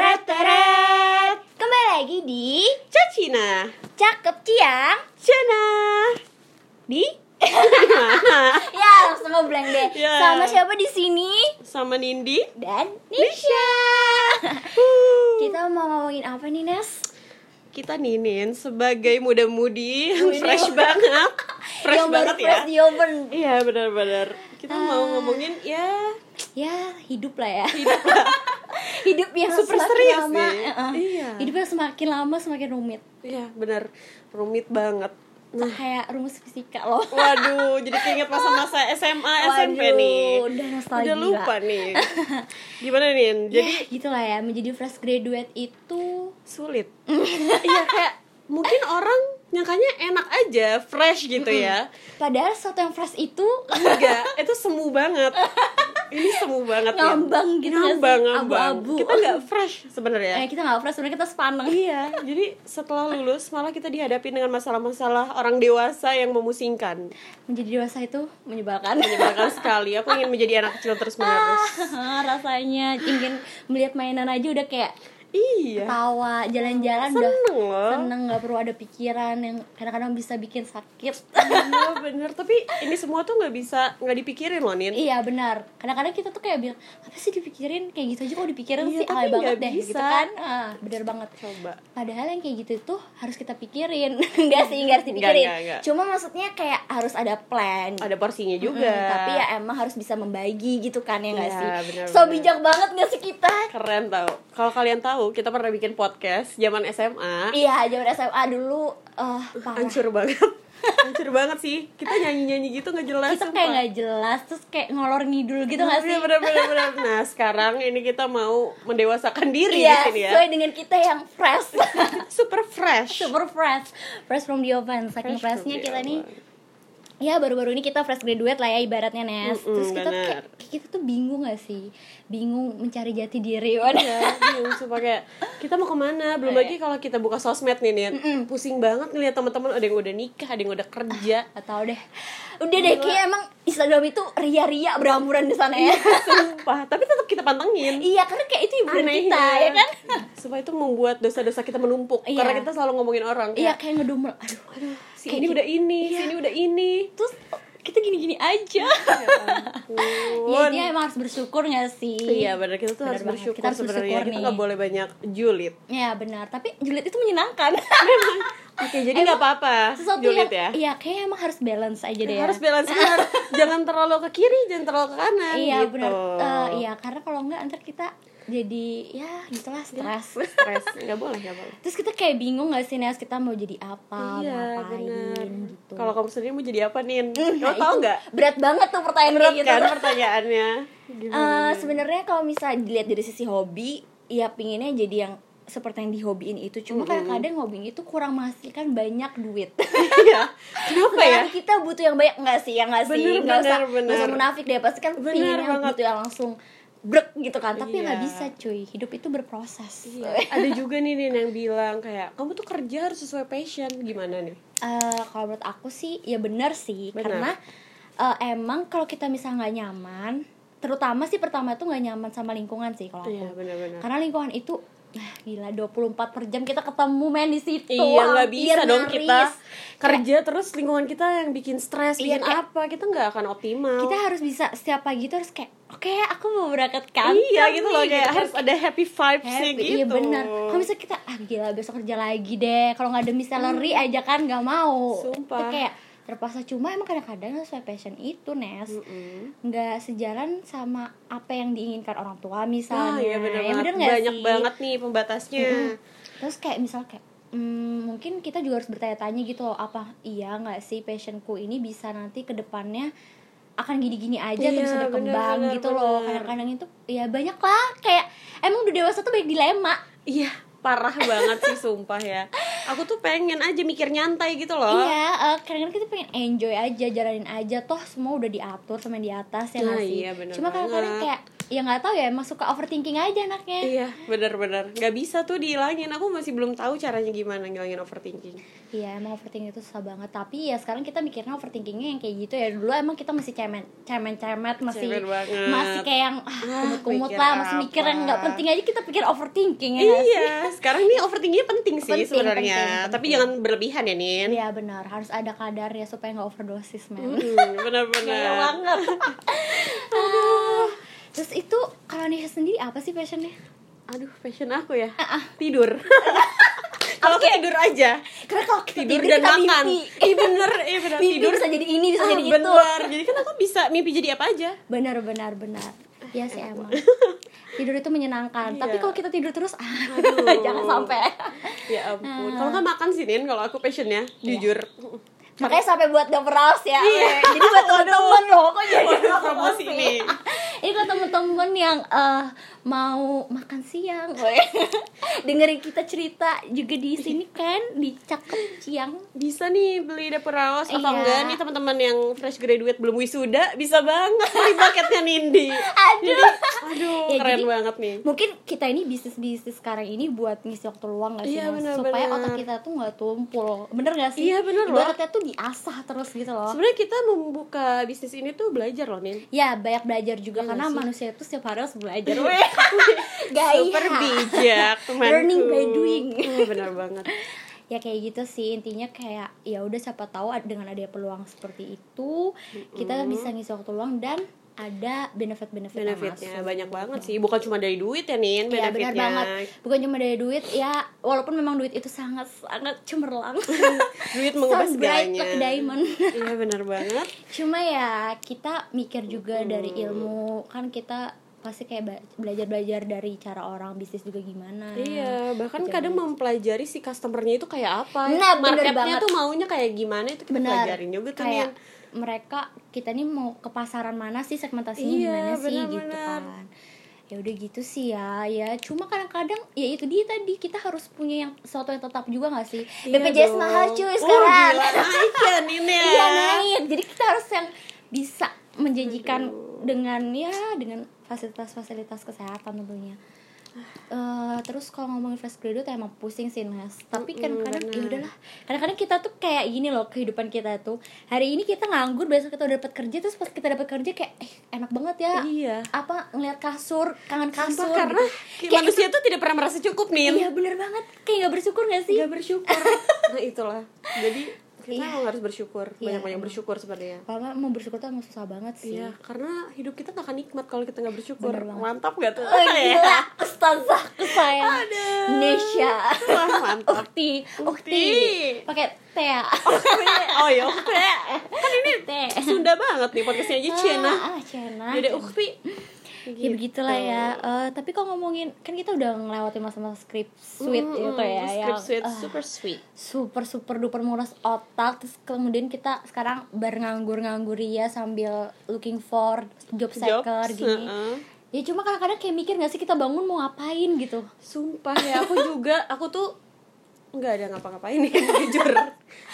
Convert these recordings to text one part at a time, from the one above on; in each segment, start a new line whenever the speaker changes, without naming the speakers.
Tetereteret
Kembali lagi di
Cacina
Cakep Ciang
Cina
di Ya langsung ngeblank deh.
Ya.
Sama siapa di sini?
Sama Nindi
Dan Nisha.
Huh.
Kita mau ngomongin apa nih Nes?
Kita Ninin sebagai muda-mudi yang
Muda.
fresh banget Fresh
Yang
banget
baru
ya
fresh di Ah. oven.
Iya benar-benar Kita mau ngomongin ya
Ya hidup lah ya.
hidup lah
hidup yang
Super
semakin
serius
lama.
nih.
eh, eh.
Iya.
Hidup yang semakin lama semakin rumit.
Iya benar rumit banget
Kayak rumus fisika loh.
Waduh, jadi keinget masa-masa SMA, SMP
Waduh,
nih
udah nostalgia.
Udah lupa nih Gimana Nin? Jadi
ya, gitulah ya menjadi fresh graduate itu
sulit iya kayak mungkin orang nyangkanya enak aja fresh gitu ya
padahal sesuatu yang fresh itu
enggak itu semu banget ini semu banget ya
Ngambang gitu nggak sih?
ngambang ngambang
Abu-abu.
kita nggak fresh
eh,
sebenarnya
kita nggak fresh sebenarnya kita sepaneng
iya jadi setelah lulus malah kita dihadapi dengan masalah-masalah orang dewasa yang memusingkan
menjadi dewasa itu menyebalkan
menyebalkan sekali aku ingin menjadi anak kecil terus menerus
rasanya ingin melihat mainan aja udah kayak
iya
tawa jalan-jalan udah
seneng loh
seneng nggak perlu ada pikiran yang kadang-kadang bisa bikin sakit
iya bener tapi ini semua tuh nggak bisa nggak dipikirin loh Nin
iya benar kadang-kadang kita tuh kayak bilang apa sih dipikirin kayak gitu aja kok dipikirin
Iya,
sih alay
tapi
banget
nggak
deh gitu
bisa.
kan ah benar banget
coba
padahal yang kayak gitu tuh harus kita pikirin enggak sih enggak harus
Nggak,
dipikirin
nggak, nggak.
cuma maksudnya kayak harus ada plan
ada porsinya juga
Hmm, tapi ya emang harus bisa membagi gitu kan ya nggak
Iya,
sih
benar,
so
benar.
bijak banget nggak sih kita
keren tau kalau kalian tahu kita pernah bikin podcast zaman SMA
iya zaman SMA dulu eh parah
hancur banget hancur banget sih kita nyanyi nyanyi gitu nggak jelas Iya,
kita kayak nggak jelas terus kayak ngolor ngidul gitu nggak sih
bener, bener, bener. nah sekarang ini kita mau mendewasakan diri di
Iya,
sini ya
sesuai dengan kita yang fresh
super fresh
super fresh fresh from the oven saking
Fresh from the
freshnya kita nih
oven.
ya baru-baru ini kita fresh graduate lah ya ibaratnya Nes
Mm-mm,
terus kita tuh kayak- kita tuh bingung gak sih bingung mencari jati diri waduh
Ya, bingung sumpah kayak kita mau kemana belum
Iya.
lagi kalau kita buka sosmed nih Nin pusing banget ngeliat teman-teman ada yang udah nikah ada yang udah kerja
atau deh udah deh kayak emang Instagram itu ria-ria beramburan di sana ya
Iya. sumpah tapi tetap kita pantengin
iya karena kayak itu hiburan
Anehnya.
kita ya kan
Iya. supaya itu membuat dosa-dosa kita menumpuk
Iya.
karena kita selalu ngomongin orang
iya
kayak,
kayak ngedumel aduh aduh
si ini
gitu.
udah ini
Iya.
si ini udah ini
terus kita gini-gini
Iya,
aja ya
Bun.
intinya emang harus bersyukur gak sih
Iya benar kita tuh
Benar
harus
banget.
bersyukur
Kita harus
sebenarnya
bersyukur
kita
nih.
nggak boleh banyak julid.
ya benar tapi julid itu menyenangkan
Oke jadi nggak apa-apa
sesuatu
julid ya.
yang iya kayak emang harus balance aja deh ya.
Harus balance benar. jangan terlalu ke kiri jangan terlalu ke kanan
iya
gitu.
benar Eh, iya karena kalau enggak ntar kita jadi ya gitulah
Iya.
stres
Stres nggak boleh nggak boleh.
terus kita kayak bingung gak sih Nes kita mau jadi
iya
apa mau
benar.
Ah, ngapain gitu
Kalau kamu sendiri mau jadi apa nin?
Nah,
Kamu tahu
itu
nggak?
berat banget tuh pertanyaan
Berat
kayak gitu
kan pertanyaannya.
Eh, sebenarnya kalau misalnya dilihat dari sisi hobi ya pinginnya jadi yang seperti yang dihobiin itu cuma kadang-kadang hobi itu kurang menghasilkan banyak duit
Iya. Kenapa ya?
Sebenarnya kita butuh yang banyak nggak sih yang nggak sih
Bener,
nggak usah
bener, bener.
nggak usah munafik deh pasti kan
Bener
pinginnya
banget.
butuh yang langsung brek gitu kan tapi
Iya.
nggak bisa cuy hidup itu berproses
Iya. Ada juga nih Nin yang bilang kayak kamu tuh kerja harus sesuai passion gimana nih?
Eh, kalau menurut aku sih ya benar sih
Benar.
karena eh, emang kalau kita misalnya nggak nyaman terutama sih pertama tuh nggak nyaman sama lingkungan sih kalau aku
Iya benar-benar.
karena lingkungan itu ah, gila 24 per jam kita ketemu men di situ
Iya nggak
hampir
bisa dong
nyaris.
kita kerja terus lingkungan kita yang bikin stres,
Iya,
bikin
kayak-
apa kita nggak akan optimal.
kita harus bisa setiap pagi tuh harus kayak oke aku mau berangkat kantor
iya gitu
nih,"
loh kayak
kan.
harus ada happy vibes-nya
Happy,
gitu.
Iya benar. Kalau misalnya kita ah gila besok kerja lagi deh. Kalau nggak demi salary aja kan nggak mau.
Hmm. Sumpah.
Itu kayak terpaksa cuma emang kadang-kadang sesuai passion itu Nes nggak sejalan sama apa yang diinginkan orang tua
Nah,
misalnya.
iya benar
Ya,
banget.
bener nggak
Banyak
sih? Mm.
banget nih pembatasnya.
Terus kayak misal kayak hmm, mungkin kita juga harus bertanya-tanya gitu loh apa iya nggak sih passionku ini bisa nanti ke depannya akan gini-gini aja
Iya,
atau bisa berkembang
benar,
gitu
benar,
loh
benar.
kadang-kadang itu ya banyak lah kayak emang udah dewasa tuh banyak dilema
Iya, parah banget sih sumpah ya. Aku tuh pengen aja mikir nyantai gitu loh.
Iya, eh, kadang-kadang kita pengen enjoy aja, jalanin aja, toh semua udah diatur sama yang di atas ya nggak
Nah,
sih?
iya, bener
Cuma kadang-kadang
banget.
kayak ya nggak tahu ya emang suka overthinking aja anaknya
Iya, benar-benar. Gak bisa tuh dihilangin. Aku masih belum tahu caranya gimana ngilangin overthinking.
iya emang overthinking itu susah banget tapi ya sekarang kita mikirnya overthinkingnya yang kayak gitu ya dulu emang kita masih cemen cemen cemet masih
Cemen banget.
masih kayak yang ah, kumut kumut
mikir
lah masih mikir yang nggak
apa.
penting aja kita pikir overthinking ya nggak sih?
Iya, sekarang nih overthinkingnya penting sih
Penting,
sebenarnya.
penting, penting.
Tapi jangan berlebihan ya, Nin.
Iya benar, harus ada kadarnya supaya nggak overdosis men.
Hmm,
Ngeyel
benar-benar.
banget. Ah. Terus itu kalau Nisha sendiri apa sih passionnya?
Aduh, passion aku ya.
Ah,
Tidur. Kalau aku tidur aja.
Karena kalau kita
Tidur dan
kita
makan.
mimpi.
Iya bener, iya bener.
Mimpi
Tidur
bisa jadi ini, bisa
Ah,
jadi itu.
bener. Jadi kan aku bisa mimpi jadi apa aja.
Benar benar benar. Iya sih emang. Tidur itu menyenangkan, tapi
Iya.
kalau kita tidur terus ah,
Aduh.
jangan sampai.
Ya
Ah.
ampun. Kalau nggak makan sih, Nin, kalau aku passionnya.
Iya.
Jujur.
Makanya sampai buat gak peraus ya.
Iya.
Jadi buat temen-temen loh, kok jadi
Waduh, promosi
promosi.
nih.
Ini kalau temen-temen yang eh, mau makan siang, weh. dengerin kita cerita juga di sini kan di cakep siang.
Bisa nih beli dapur raos atau
Iya.
enggak nih teman-teman yang fresh graduate belum wisuda bisa banget beli paketnya Nindi.
Aduh.
Aduh,
Ya,
keren
jadi-
banget nih.
Mungkin kita ini bisnis-bisnis sekarang ini buat ngisi waktu luang gak sih?
Iya,
Mas?
benar,
Supaya
benar.
otak kita tuh gak tumpul Bener gak sih?
Iya, benar loh.
Ibaratnya tuh diasah terus gitu loh
Sebenarnya kita membuka bisnis ini tuh belajar loh, Nin.
Ya banyak belajar
Iya
juga karena manusia itu setiap hari harus belajar weh. Gaya.
Super bijak, temanku.
iya. Learning by doing.
Hmm, benar banget.
ya kayak gitu sih intinya kayak ya udah siapa tahu ad- dengan ada peluang seperti itu kita bisa ngisi waktu luang dan ada benefit-benefit yang
Benefitnya
masuk.
banyak banget sih, bukan cuma dari duit ya, Nin, benefitnya.
Iya benar banget bukan cuma dari duit ya walaupun memang duit itu sangat sangat cemerlang
Duit mengubah
Sound bright
segalanya.
like diamond.
Iya, benar banget.
cuma ya kita mikir juga dari ilmu kan kita pasti kayak ba- belajar-belajar dari cara orang bisnis juga gimana
Iya, bahkan
Nah, Gitu.
kadang mempelajari si customernya itu kayak apa,
Nah, bener
marketnya
banget.
tuh maunya kayak gimana itu kita
benar
pelajarin juga tuh
kayak
Nin.
mereka kita nih mau ke pasaran mana sih segmentasinya
Iya,
gimana sih gitu
benar-benar.
kan ya udah gitu sih ya ya cuma kadang-kadang ya itu dia tadi kita harus punya yang sesuatu yang tetap juga gak sih
Iya
BPJS
dong.
mahal cuy
Uh,
sekarang
gila, naik ya Nin ya.
iya naik jadi kita harus yang bisa menjanjikan dengan ya dengan fasilitas-fasilitas kesehatan tentunya Eh, terus kalau ngomongin fresh graduate ya emang pusing sih Nas tapi kadang-kadang ya udahlah kadang-kadang kita tuh kayak gini loh kehidupan kita tuh hari ini kita nganggur besok kita udah dapat kerja terus pas kita dapat kerja kayak eh, enak banget ya
Iya.
apa ngelihat kasur kangen
Sumpah,
kasur
karena
gitu.
kayak
Kayak
manusia tuh tidak pernah merasa cukup Nin.
iya bener banget kayak nggak bersyukur gak sih
Gak bersyukur. nah, itulah. Jadi kita
Iya.
emang harus bersyukur,
Iya,
banyak-banyak bersyukur sebenarnya.
kalau nggak mau bersyukur tuh emang susah banget sih
Iya, karena hidup kita gak akan nikmat kalau kita gak bersyukur.
Bener banget.
Mantap gak tuh?
Oh,
Ya?
gila, ustazah kesayangan
Aduh.
Nesha
Wah, mantap.
Ukti, Ukti
Ukti.
Pakai T ya
oh ya, Ukti.
Kan ini T
Sunda banget nih podcastnya aja Nah, Cina.
Ah, Cina
Dede Ukti.
Ya begitulah ya
Gitu.
Eh, Tapi kalau ngomongin, kan kita udah ngelewatin masa-masa script sweet gitu ya
Script
yang,
sweet,
eh,
super sweet.
super super duper nguras otak terus kemudian kita sekarang bernanggur nganggur ya sambil looking for job seeker
Jobs,
gini
heeh.
ya cuma kadang-kadang kayak mikir nggak sih kita bangun mau ngapain gitu
Sumpah ya, aku juga, aku tuh nggak ada ngapa-ngapain nih, jujur.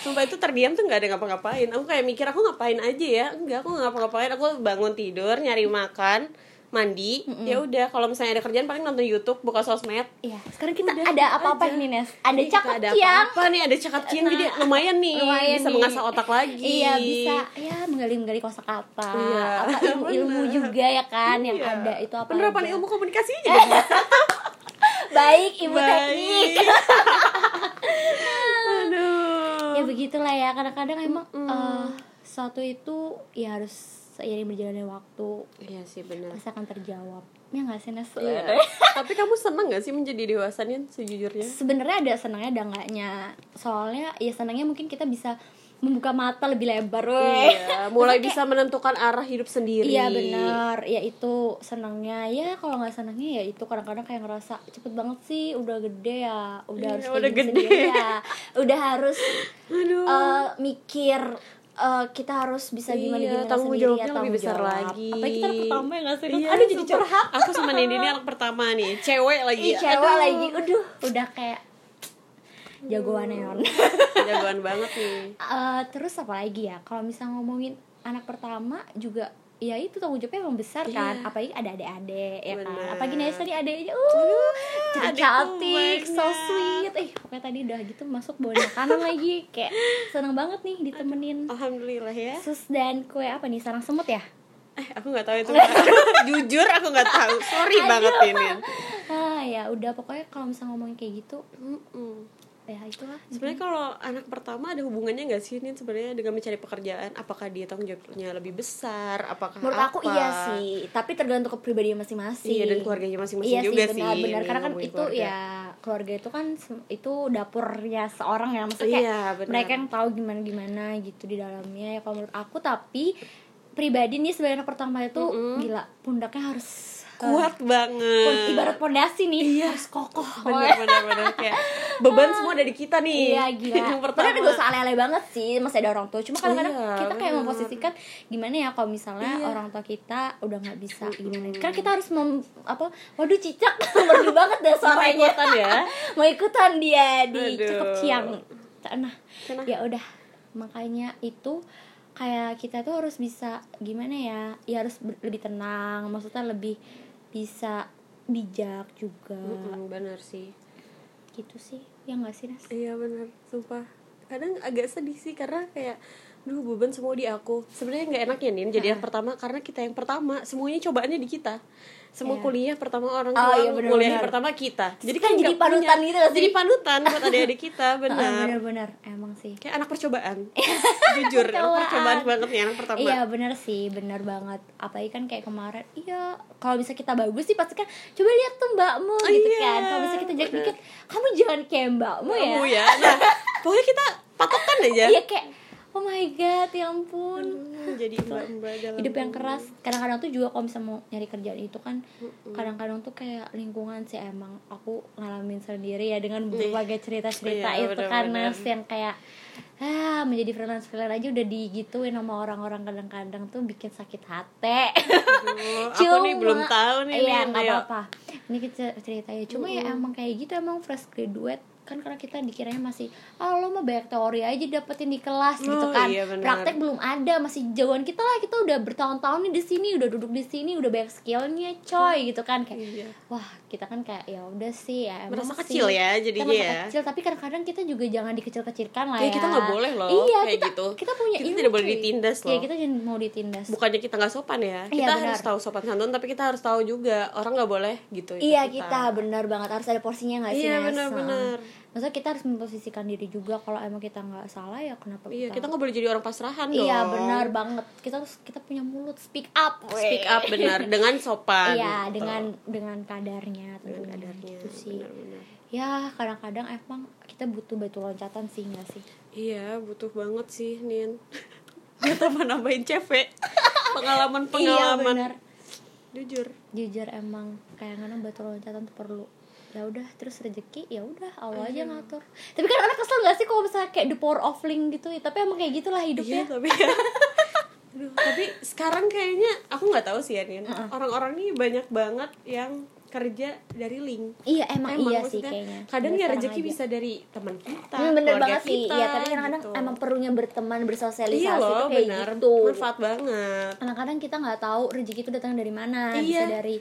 Sumpah itu terdiam tuh nggak ada ngapa-ngapain. Aku kayak mikir aku ngapain aja ya? Enggak, aku nggak ngapa-ngapain. Aku bangun tidur, nyari makan, mandi. Ya udah, kalau misalnya ada kerjaan paling nonton YouTube, buka sosmed.
Iya, sekarang kita ada apa-apa ini Nes Ada
Jadi kita
cakep
ada
siang Nah,
apa nih? Ada cakap ciang jadi lumayan nih,
Lumayan
bisa
nih.
mengasah otak lagi.
Iya bisa ya menggali-menggali kosakata
Iya.
apa
Bener.
ilmu-ilmu juga ya kan yang
Iya.
ada itu apa
Penerapan
aja.
ilmu komunikasi juga bisa.
baik Eh, ilmu
Baik.
teknik
Aduh.
ya begitulah ya kadang-kadang emang eh, sesuatu itu ya harus seiring berjalannya waktu
Iya sih benar.
pasti akan terjawab ya nggak sih Nes
Iya. Tapi kamu seneng gak sih menjadi dewasa nih sejujurnya?
sebenarnya ada senangnya ada enggaknya soalnya ya senangnya mungkin kita bisa membuka mata lebih lebar weh.
Iya, mulai bisa menentukan arah hidup sendiri.
Iya benar, ya itu senangnya ya kalau nggak senangnya ya itu kadang-kadang kayak ngerasa cepet banget sih udah gede ya, udah
Iya,
harus
udah
kayak gini
gede.
sendiri ya, udah harus
Aduh.
eh, mikir eh, kita harus bisa gimana
Iya,
gimana
tanggung
sendiri
jawabnya
ya, tanggung
lebih besar
jawab.
lagi.
Apalagi kita anak pertama ya nggak sih? Iya,
Iya,
Aduh jadi
sumpah.
curhat.
Aku sama Nindi ini anak pertama nih, cewek lagi.
Ih, cewek
Aduh,
lagi, aduh udah kayak jagoan neon.
Jagoan banget nih.
Eh, terus apa lagi ya? Kalau misalnya ngomongin anak pertama juga ya itu tanggung jawabnya emang besar kan
Iya.
apalagi ada adik-adik ya kan
Benar.
apalagi Nesa nih adiknya uh jadi
adikku
cantik so
banyak.
sweet eh pokoknya tadi udah gitu masuk bawa makanan lagi kayak seneng banget nih ditemenin
Alhamdulillah ya.
sus dan kue apa nih sarang semut ya
Eh, aku nggak tahu itu. Mbak. Jujur aku nggak tahu. Sorry banget ini.
ah ya udah pokoknya kalau misalnya ngomongin kayak gitu
Mm-mm.
ya itulah
Sebenarnya kalau anak pertama ada hubungannya nggak sih ini sebenarnya dengan mencari pekerjaan? Apakah dia tanggung jawabnya lebih besar? Apakah
menurut
apa?
aku iya sih tapi tergantung kepribadian masing-masing
Iya dan keluarganya masing-masing
iya
juga sih.
sih benar-benar
ini
karena kan
ngomongin
itu ya keluarga itu kan sem- itu dapurnya seorang ya maksudnya
Iya, benar.
mereka yang tahu gimana gimana gitu di dalamnya ya kalau menurut aku tapi pribadi nih sebagai anak pertama itu gila pundaknya harus
kuat banget. Iya.
pon- eh, ibarat pondasi nih harus kokoh
Bener-bener kayak beban semua dari kita nih.
Iya gila.
Yang pertama.
Padahal gak usah ale-ale banget sih, masih ada orang tua. Cuma kadang-kadang
Iya,
kita kayak
bener. Iya.
memposisikan gimana ya kalau misalnya orang tua kita udah nggak bisa gimana. Karena kita harus mem apa? Waduh cicak merdu banget dah suaranya.
ikutan ya.
Mau ikutan dia di
Aduh.
cekep ciang. Nah,
Cenah.
ya udah makanya itu kayak kita tuh harus bisa gimana ya? Ya harus ber- lebih tenang, maksudnya lebih bisa bijak juga.
Mm-mm, bener sih.
Gitu sih. Ya nggak sih, Nas?
Iya bener. Sumpah. Kadang agak sedih sih karena kayak Duh beban semua di aku sebenarnya nggak enak ya Nin jadi yang pertama karena kita yang pertama Semuanya cobaannya di kita Semua
Iya.
kuliah pertama orang
Oh,
tua
iya, bener,
Kuliah
bener.
pertama kita Jadi
Kan jadi
nggak punya-
panutan gitu nggak sih? Ah,
Jadi panutan buat adik-adik kita
Heeh,
bener
benar emang sih
Kayak anak percobaan Jujur anak percobaan banget nih anak pertama
Iya benar sih, benar banget. Apalagi kan kayak kemarin, iya kalau bisa kita bagus sih pasti kan coba lihat tuh mbakmu gitu
iya,
kan. Kalau bisa kita jelek dikit, kamu jangan kayak mbakmu ya.
Kamu ya Nah pokoknya kita patokan aja
Iya kayak oh my god, ya ampun.
Hmm, Jadi mbak-mbak dalam
Gitu. Hidup yang keras. Kadang-kadang tuh juga kalau bisa mau nyari kerjaan itu kan kadang-kadang tuh kayak lingkungan sih emang aku ngalamin sendiri ya dengan berbagai cerita-cerita
Iya,
itu kan
bener-bener.
Nas, yang kayak ah menjadi freelance freelance aja udah digituin sama orang-orang kadang-kadang tuh bikin sakit hati.
Aduh, Aku nih belum tahu nih
iya
Nin,
nggak
ayo.
apa-apa ini kita cerita ya cuma ya emang kayak gitu emang fresh graduate kan karena kita dikiranya masih ah lo mah banyak teori aja dapetin di kelas gitu
Oh,
kan
iya, benar.
praktek belum ada masih jauhan kita lah kita udah bertahun-tahun nih di sini udah duduk di sini udah banyak skillnya coy gitu kan kayak
Iya.
wah kita kan kayak ya udah sih ya emang
Merasa
sih."
kecil ya
Kita
jadinya
merasa
ya.
kecil tapi kadang-kadang kita juga jangan dikecil-kecilkan lah
Ya,
ya,
kita nggak boleh loh,
iya
kayak
kita
gitu.
kita punya
Kita
ilmu,
tidak boleh
cuy.
ditindas
iya
loh.
kita jangan mau ditindas
bukannya kita nggak sopan ya kita
Iya, benar.
harus tahu sopan santun tapi kita harus tahu juga orang nggak boleh gitu ikut
Iya kita benar banget harus ada porsinya nggak sih?
Iya,
Nes?
benar-benar.
Nah, Maksudnya kita harus memposisikan diri juga kalau emang kita nggak salah ya kenapa
iya kita nggak boleh jadi orang pasrahan dong
Iya benar banget kita harus kita punya mulut speak up. weh.
speak up benar dengan sopan gitu.
Iya dengan dengan kadarnya
dengan
tentunya
kadarnya
gitu sih.
benar-benar.
Ya kadang-kadang emang kita butuh batu loncatan sih nggak sih?
iya butuh banget sih Nin Gak tambah nambahin CV pengalaman
Iya
pengalaman
benar.
jujur
Jujur emang kayak kadang batu loncatan tuh perlu ya udah terus rezeki ya udah Allah
Iya.
aja ngatur tapi kan anak kesel gak sih kalau misalnya kayak the power of link gitu ya tapi emang kayak gitulah hidupnya
Iya tapi ya Aduh, tapi sekarang kayaknya aku nggak tahu sih ya Nin orang-orang nih banyak banget yang kerja dari link
Iya emang, iya sih
maksudnya,
kayaknya.
kadang
Bener
ya
sekarang
rezeki
aja.
bisa dari teman kita
Hmm, bener
keluarga
banget sih.
kita,
Iya, tapi kadang-kadang
gitu.
emang perlunya berteman, bersosialisasi
iya
itu
loh
kayak
benar
gitu.
manfaat banget
Kadang-kadang kita nggak tahu rezeki itu datang dari mana.
Iya.
Bisa dari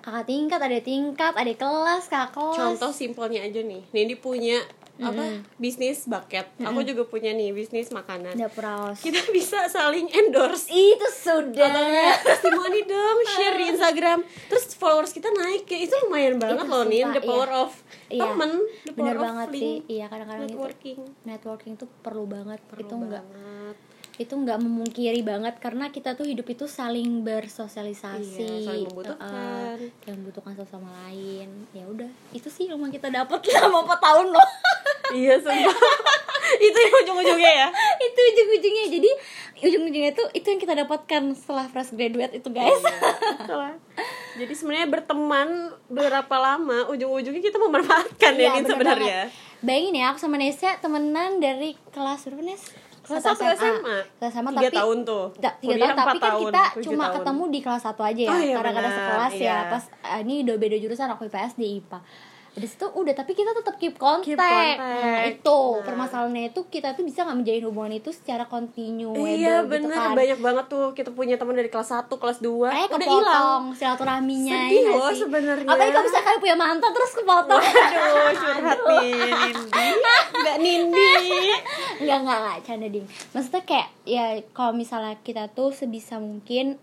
kakak tingkat, ada tingkat, ada kelas, kakak kelas.
contoh simpelnya aja nih Nindi punya apa
Hmm.
bisnis bucket aku juga punya nih bisnis makanan
dapur aos.
kita bisa saling endorse
Itu sudah.
Katanya testimoni dong share di Instagram terus followers kita naik ya itu lumayan banget
Itu
loh nih
sumpah,
the power
iya.
of temen the power
bener
of
banget
link,
sih. Iya, kadang-kadang itu
networking
networking itu perlu banget.
Perlu
itu enggak
banget.
itu nggak memungkiri banget karena kita tuh hidup itu saling bersosialisasi
Iya, saling membutuhkan.
eh, yang membutuhkan satu sama lain ya udah itu sih yang emang kita dapat selama 4 tahun loh
iya sumpah itu yang ujung-ujungnya ya
itu ujung-ujungnya jadi ujung-ujungnya itu itu yang kita dapatkan setelah fresh graduate itu guys
Salah. Jadi sebenarnya berteman berapa lama ujung-ujungnya kita memanfaatkan
Iya,
ya Din
bener
sebenarnya.
banget. bayangin ya aku sama Nesya temenan dari kelas berapa Nes
Kelas satu SMA.
kelas sama
Tiga
tapi
tahun tuh.
Ta- tiga
Kuliah
tahun tapi
empat
kan
tahun,
kita
tujuh
cuma
tahun.
ketemu di kelas satu aja ya eh,
Oh, iya
karena kadang
benar,
sekelas
iya.
ya pas ah, ini udah beda jurusan aku IPS di IPA Udah itu udah tapi kita tetap keep contact.
Keep
Nah,
contact.
itu
Nah.
permasalahannya itu kita tuh bisa nggak menjalin hubungan itu secara kontinu
Iya
gitu
bener,
kan.
banyak banget tuh kita punya teman dari kelas 1, kelas 2
Kayak
Udah hilang
kepotong
Sedih
silaturahminya ya nggak
loh
sih?
sebenarnya.
Apalagi kalau bisa kalian punya mantan terus kepotong.
Aduh, curhat nih Nindi Mbak Nindi
Iya. Enggak, enggak, enggak, canda ding Maksudnya kayak, ya kalau misalnya kita tuh sebisa mungkin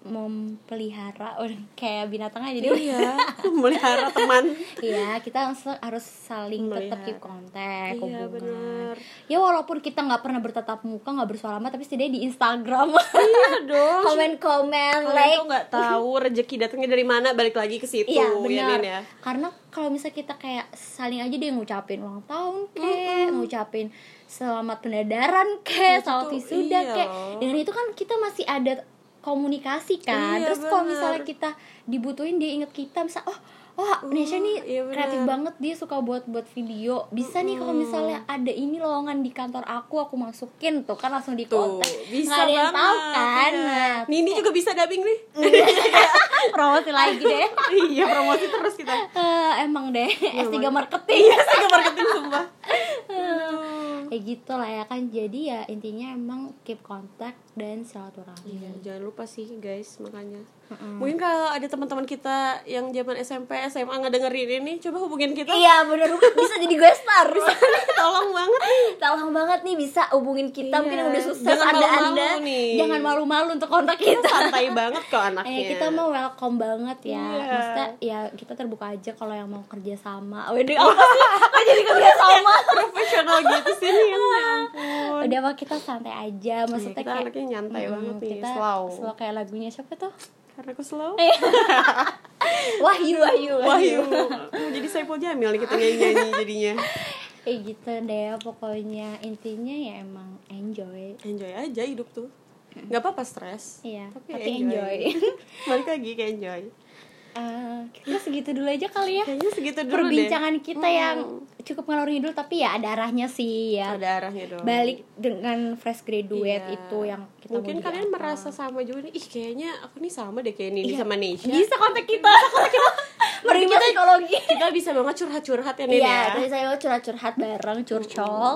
memelihara Udah kayak binatang aja deh
Iya, melihara teman
Iya, kita langsung harus saling tetap
Melihara.
keep kontak,
Iya,
hubungan
bener.
Ya walaupun kita nggak pernah bertatap muka, nggak bersuara tapi setidaknya di Instagram
Iya dong
Komen-komen,
Kalian
like
tuh nggak tahu rezeki datangnya dari mana balik lagi ke situ
Iya
ya,
benar.
Nin, ya.
Karena kalau misalnya kita kayak saling aja dia ngucapin ulang tahun kek, ngucapin selamat pendadaran kek, selamat
Itu,
wisuda
iya
kek.
loh.
Dengan itu kan kita masih ada komunikasi kan.
Iya,
Terus kalau
benar.
misalnya kita dibutuhin dia inget kita bisa oh Oh, Nesha nih
iya benar.
kreatif banget dia suka buat buat video. Bisa nih kalau misalnya ada ini lowongan di kantor aku, aku masukin tuh kan langsung di
Tuh,
kontak.
bisa
Nggak ada yang
banget.
tahu kan.
Iya.
Nah,
Nindi juga bisa dubbing nih.
promosi lagi deh.
iya, promosi terus kita.
Eh, emang deh S3 marketing.
Iya, sih marketing sumpah. Aduh.
ya gitu lah ya kan jadi ya intinya emang keep kontak dan silaturahmi
Iya, jangan lupa sih guys, makanya. Mungkin kalau ada teman-teman kita yang zaman SMP, SMA ngedengerin ini, coba hubungin kita.
iya bener bisa jadi gue star
Tolong banget nih.
tolong banget nih bisa hubungin kita
Iya.
mungkin yang udah sukses
Jangan
ada
malu-malu
anda Iya.
nih.
jangan malu-malu untuk kontak kita
Santai banget kok anaknya.
Eh, kita mau welcome banget ya
Iya.
maksudnya ya kita terbuka aja kalau yang mau kerja sama Waduh, ya apa sih Kok jadi kerja sama
profesional gitu sih nih. Ya
Iya.
ampun.
udah mah kita santai aja
Iya,
maksudnya
kita
kayak
anaknya nyantai
Mm,
banget nih,
kita
slow.
slow kayak lagunya siapa tuh
Karena aku slow.
Eh, Wahyu Wahyu
Wahyu. Jadi Saipul Jamil nih kita nyanyi-nyanyi jadinya.
Kayak gitu deh pokoknya intinya ya emang enjoy
Enjoy aja hidup tuh. Nggak apa-apa stres.
Iya,
tapi,
tapi
enjoy.
enjoy.
Balik lagi ke enjoy.
Eh, kita segitu dulu aja kali ya
Kayaknya segitu dulu
perbincangan
deh. Hmm.
kita yang cukup ngalor ngidul tapi ya ada arahnya sih ya
ada arahnya dong.
balik dengan fresh graduate
Iya.
itu yang kita
mungkin
mau
kalian
diapa.
merasa sama juga nih ih kayaknya aku nih sama deh kayak Nini
Iya.
sama Nisha
bisa kontak kita menerima psikologi
kita bisa banget curhat-curhat ya Hmm. Nini
Iya,
ya
tadi saya mau curhat-curhat bareng, curcol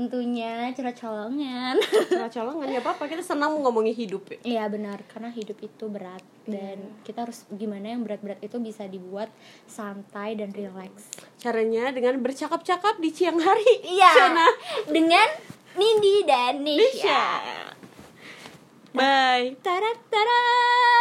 Tentunya curhat-colongan
curhat-colongan nggak apa-apa kita senang ngomongin hidup ya.
Iya benar, karena hidup itu berat dan
Iya.
kita harus gimana yang berat-berat itu bisa dibuat santai dan relax.
caranya dengan bercakap-cakap di siang hari
Iya.
Sana.
Dengan Nindi dan Nisha.
Nisha bye
Tarak tarak.